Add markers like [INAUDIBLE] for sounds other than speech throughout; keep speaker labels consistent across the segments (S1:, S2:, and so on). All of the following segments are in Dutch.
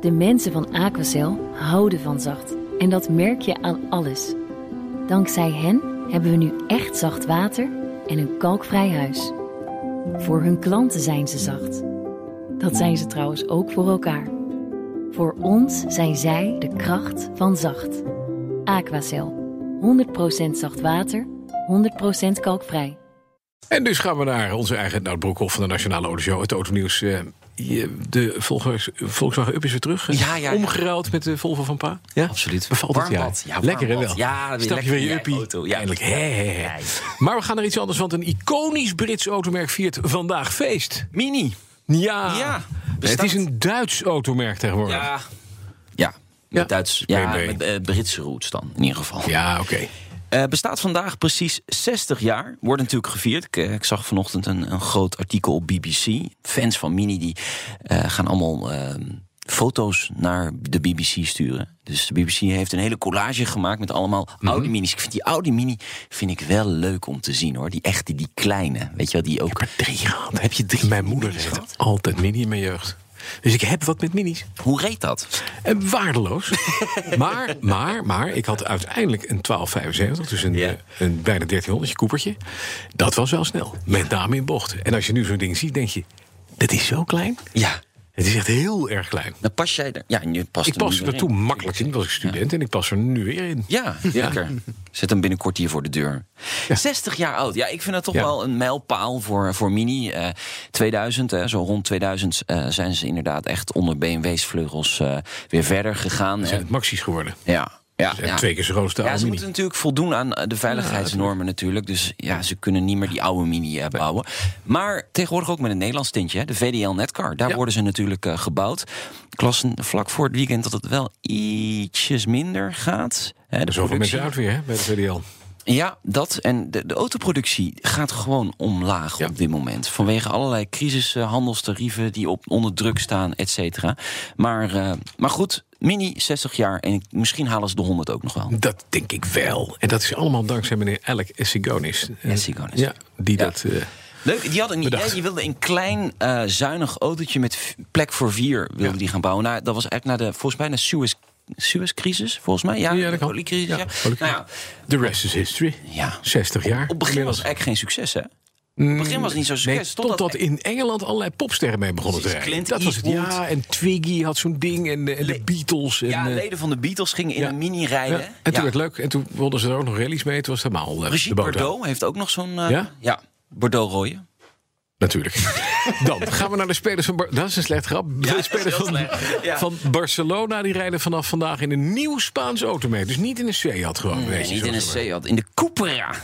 S1: De mensen van Aquacel houden van zacht. En dat merk je aan alles. Dankzij hen hebben we nu echt zacht water en een kalkvrij huis. Voor hun klanten zijn ze zacht. Dat zijn ze trouwens ook voor elkaar. Voor ons zijn zij de kracht van zacht. Aquacel. 100% zacht water, 100% kalkvrij.
S2: En dus gaan we naar onze eigen Nout Broekhoff van de Nationale Autoshow. Het autonieuws. eh, je- De Volkswagen, Volkswagen Up is weer terug.
S3: Ja, ja, ja.
S2: Omgeruild met de Volvo van pa. Ja?
S3: Absoluut.
S2: Bevalt het
S3: Warm
S2: ja.
S3: bad. Ja, warm
S2: lekker hè
S3: bad.
S2: wel.
S3: Ja, weer
S2: Stap je
S3: lekker
S2: weer
S3: in
S2: je
S3: je
S2: uppie.
S3: eigen auto. Ja.
S2: Eindelijk. Hè, hè, hè.
S3: Ja, ja.
S2: Maar we gaan naar iets anders. Want een iconisch Brits automerk viert vandaag feest.
S3: Mini.
S2: Ja.
S3: Ja,
S2: Nee, het
S3: bestaat.
S2: is een Duits automerk tegenwoordig. Ja,
S3: Ja. Ja. Met
S2: Ja.
S3: Duits. Ja,
S2: BMW.
S3: met eh, Britse roots dan, in ieder geval.
S2: oké.
S3: Eh, bestaat vandaag precies 60 jaar. Wordt natuurlijk gevierd. Ik, eh, ik zag vanochtend een, een groot artikel op BBC. Fans van Mini die eh, gaan allemaal eh, foto's naar de BBC sturen. Dus de BBC heeft een hele collage gemaakt met allemaal
S2: Mhm.
S3: Audi Minis. Ik vind die Audi Mini vind ik wel leuk om te zien hoor. Die echte, die kleine. Weet je wel, die ook.
S2: Drie gehad. Heb je drie? Mijn moeder heeft altijd mini in mijn jeugd. Dus ik heb wat met minis.
S3: Hoe reed dat?
S2: En Eh, waardeloos. [LAUGHS] maar, maar, maar, ik had uiteindelijk een 1275, dus een,
S3: Ja.
S2: eh, een bijna 1300 koepertje. Dat was wel snel, met name in bochten. En als je nu zo'n ding ziet, denk je, dat is zo klein.
S3: Ja,
S2: Het is echt heel erg klein.
S3: dan pas jij er. Ja, en je past
S2: Ik
S3: er nu
S2: paste
S3: weer
S2: er toen
S3: in.
S2: makkelijk in, was ik student, en ik pas er nu weer in.
S3: Ja, lekker. Zet hem binnenkort hier voor de deur. 60 jaar oud. Ja, ik vind dat toch
S2: Ja.
S3: wel een mijlpaal voor, voor Mini. Eh, 2000, hè, zo rond 2000 eh, zijn ze inderdaad echt onder BMW's vleugels eh, weer verder gegaan.
S2: Zijn
S3: hè.
S2: het maxis geworden.
S3: Ja. Ja,
S2: zijn
S3: ja.
S2: twee keer zo groot als de
S3: ja,
S2: oude
S3: ze
S2: Mini.
S3: moeten natuurlijk voldoen aan eh, de veiligheidsnormen natuurlijk. Dus ja, ze kunnen niet meer die oude Mini eh, bouwen. Maar tegenwoordig ook met een Nederlands tintje. Hè, de VDL Netcar, daar
S2: Ja.
S3: worden ze natuurlijk eh, gebouwd. Klassen vlak voor het weekend dat het wel ietsjes minder gaat. Hè, de
S2: Zoveel
S3: productie.
S2: mensen uit weer, hè, bij de VDL.
S3: Ja, dat. En de, de autoproductie gaat gewoon omlaag
S2: Ja.
S3: op dit moment. Vanwege allerlei crisissen, handelstarieven die op, onder druk staan, et cetera. Maar, eh, maar goed, mini 60 jaar. En ik- misschien halen ze de 100 ook nog wel.
S2: Dat denk ik wel. En dat is allemaal dankzij meneer Alec Essigonis. Eh,
S3: Essigonis.
S2: Ja, die
S3: Ja.
S2: dat... eh,
S3: Leuk, die had een idee.
S2: Bedacht.
S3: Die wilde een klein, eh, zuinig autootje met v- plek voor vier wilde
S2: Ja.
S3: die gaan bouwen. Nou, dat was eigenlijk na de, volgens mij, na de Suez, Suezcrisis, volgens mij. Ja,
S2: ja, dat
S3: de
S2: kan.
S3: oliecrisis. Ja.
S2: Ja,
S3: Nou ja,
S2: oliecrisis. The rest is history.
S3: Ja.
S2: 60 jaar.
S3: op het begin was
S2: inmiddels. Mm,
S3: het eigenlijk geen succes, hè? Op het begin was het niet zo'n succes.
S2: Nee, totdat in Engeland allerlei popsterren mee begonnen te
S3: Precies,
S2: rijden.
S3: Clint
S2: Dat was het.
S3: Eastwood.
S2: Ja, en Twiggy had zo'n ding. En, de- en de
S3: Le-
S2: Beatles. En,
S3: Ja,
S2: eh,
S3: leden van de Beatles gingen in
S2: ja.
S3: een mini
S2: ja.
S3: rijden.
S2: En toen werd het leuk. En toen wilden ze er ook nog rallies mee. Toen was het helemaal eh, de
S3: Brigitte
S2: boot aan.
S3: Bordeaux heeft ook nog zo'n... eh,
S2: Ja?
S3: ja? Bordeaux-rooien. [LAUGHS]
S2: Natuurlijk. Dan gaan we naar de spelers van... Bar- dat is een slecht grap.
S3: dat
S2: de
S3: is
S2: spelers
S3: heel
S2: van,
S3: slecht. Ja.
S2: van Barcelona die rijden vanaf vandaag in een nieuw Spaans automerk. Dus niet in een Seat gewoon. weet je,
S3: niet
S2: zo
S3: in
S2: zeg maar.
S3: een Seat, in de Cupra.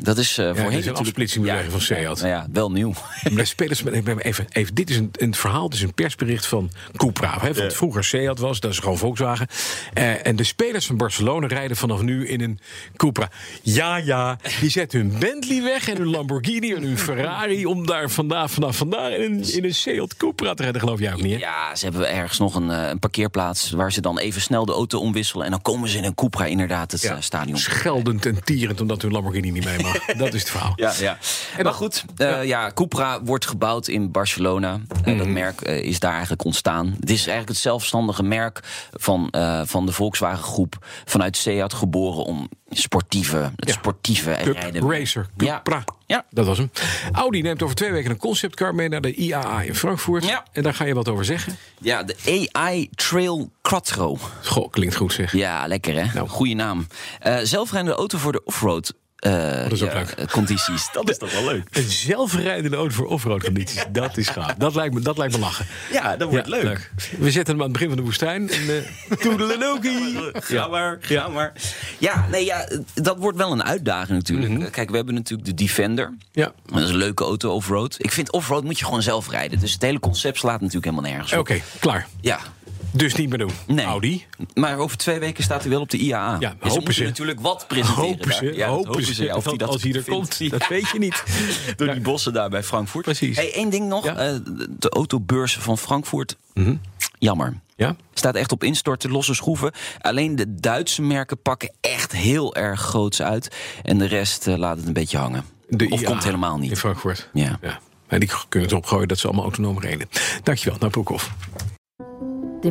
S3: Dat is eh
S2: dat
S3: voorheen
S2: is een afsplitsingbeleging van Seat.
S3: Nou ja, wel nieuw.
S2: Maar de spelers, maar even, even, even, dit is een, een verhaal, dit is een persbericht van Cupra. Hè, wat vroeger Seat was, dat is gewoon Volkswagen. Eh, en de spelers van Barcelona rijden vanaf nu in een Cupra. Ja, ja, die zetten hun Bentley weg en hun Lamborghini en hun Ferrari... om daar vandaag, vanaf vandaag in een, in een Seat Cupra te rijden, geloof jij ook niet, hè?
S3: Ja, ze hebben ergens nog een, eh, een parkeerplaats... waar ze dan even snel de auto omwisselen... en dan komen ze in een Cupra inderdaad het eh, stadion.
S2: Scheldend en tierend omdat hun Lamborghini niet mee
S3: [LAUGHS]
S2: mag. Dat is het verhaal.
S3: Ja, ja.
S2: dan-
S3: maar goed, eh, ja. Cupra wordt gebouwd in Barcelona. Eh,
S2: Mhm.
S3: dat merk eh, is daar eigenlijk ontstaan. Het is eigenlijk het zelfstandige merk van, eh, van de Volkswagen groep. Vanuit Seat geboren om sportieve, het
S2: Ja.
S3: sportieve en
S2: Cup
S3: rijden.
S2: Racer,
S3: Ja.
S2: Cupra.
S3: Ja.
S2: Dat was hem. Audi neemt over twee weken een conceptcar mee naar de IAA in Frankfurt.
S3: Ja.
S2: En daar ga je wat over zeggen.
S3: Ja, de AI Trail Quattro.
S2: Goh, klinkt goed zeg.
S3: Ja, lekker hè?
S2: Nou.
S3: Goeie naam. Eh zelfrijdende auto voor de offroad. eh,
S2: Oh, is ook
S3: ja,
S2: leuk.
S3: eh, Condities. [LAUGHS] dat is toch wel leuk?
S2: Een zelfrijdende auto voor offroad condities. Dat is gaaf. Dat lijkt me, dat lijkt me lachen.
S3: Ja, dat wordt
S2: Ja,
S3: leuk.
S2: We zetten hem aan het begin van de woestijn. En,
S3: [LAUGHS]
S2: eh, toedeledokie.
S3: Ga maar, ga maar. Ja, nee, ja, dat wordt wel een uitdaging natuurlijk. Kijk, we hebben natuurlijk de Defender.
S2: Mhm. Ja.
S3: Dat is een leuke auto offroad. Ik vind offroad moet je gewoon zelf rijden. Dus het hele concept slaat natuurlijk helemaal nergens
S2: Oké,
S3: op.
S2: klaar.
S3: Ja.
S2: Dus niet meer doen.
S3: Nee.
S2: Oh. Audi.
S3: Maar over twee weken staat hij wel op de IAA.
S2: Ja,
S3: Dus
S2: hopen
S3: ze moeten
S2: ze.
S3: natuurlijk wat presenteren.
S2: Hopen ze,
S3: daar. Ja, dat
S2: hopen ze,
S3: Ja, of
S2: dat
S3: die dat
S2: als hij er
S3: vindt.
S2: komt, dat weet je niet.
S3: Door
S2: Ja.
S3: die bossen daar bij Frankfurt.
S2: Precies.
S3: Hey, één ding nog.
S2: Ja.
S3: eh, de autobeurs van Frankfurt.
S2: Mhm.
S3: Jammer.
S2: Ja?
S3: Staat echt op instorten, losse schroeven. Alleen de Duitse merken pakken echt heel erg groots uit. En de rest eh, laat het een beetje hangen.
S2: De
S3: of
S2: IAA
S3: komt helemaal
S2: In
S3: niet.
S2: Frankfurt.
S3: Ja.
S2: En die kunnen het opgooien dat ze allemaal autonoom reden. Dankjewel, naar Broekhoff.
S1: De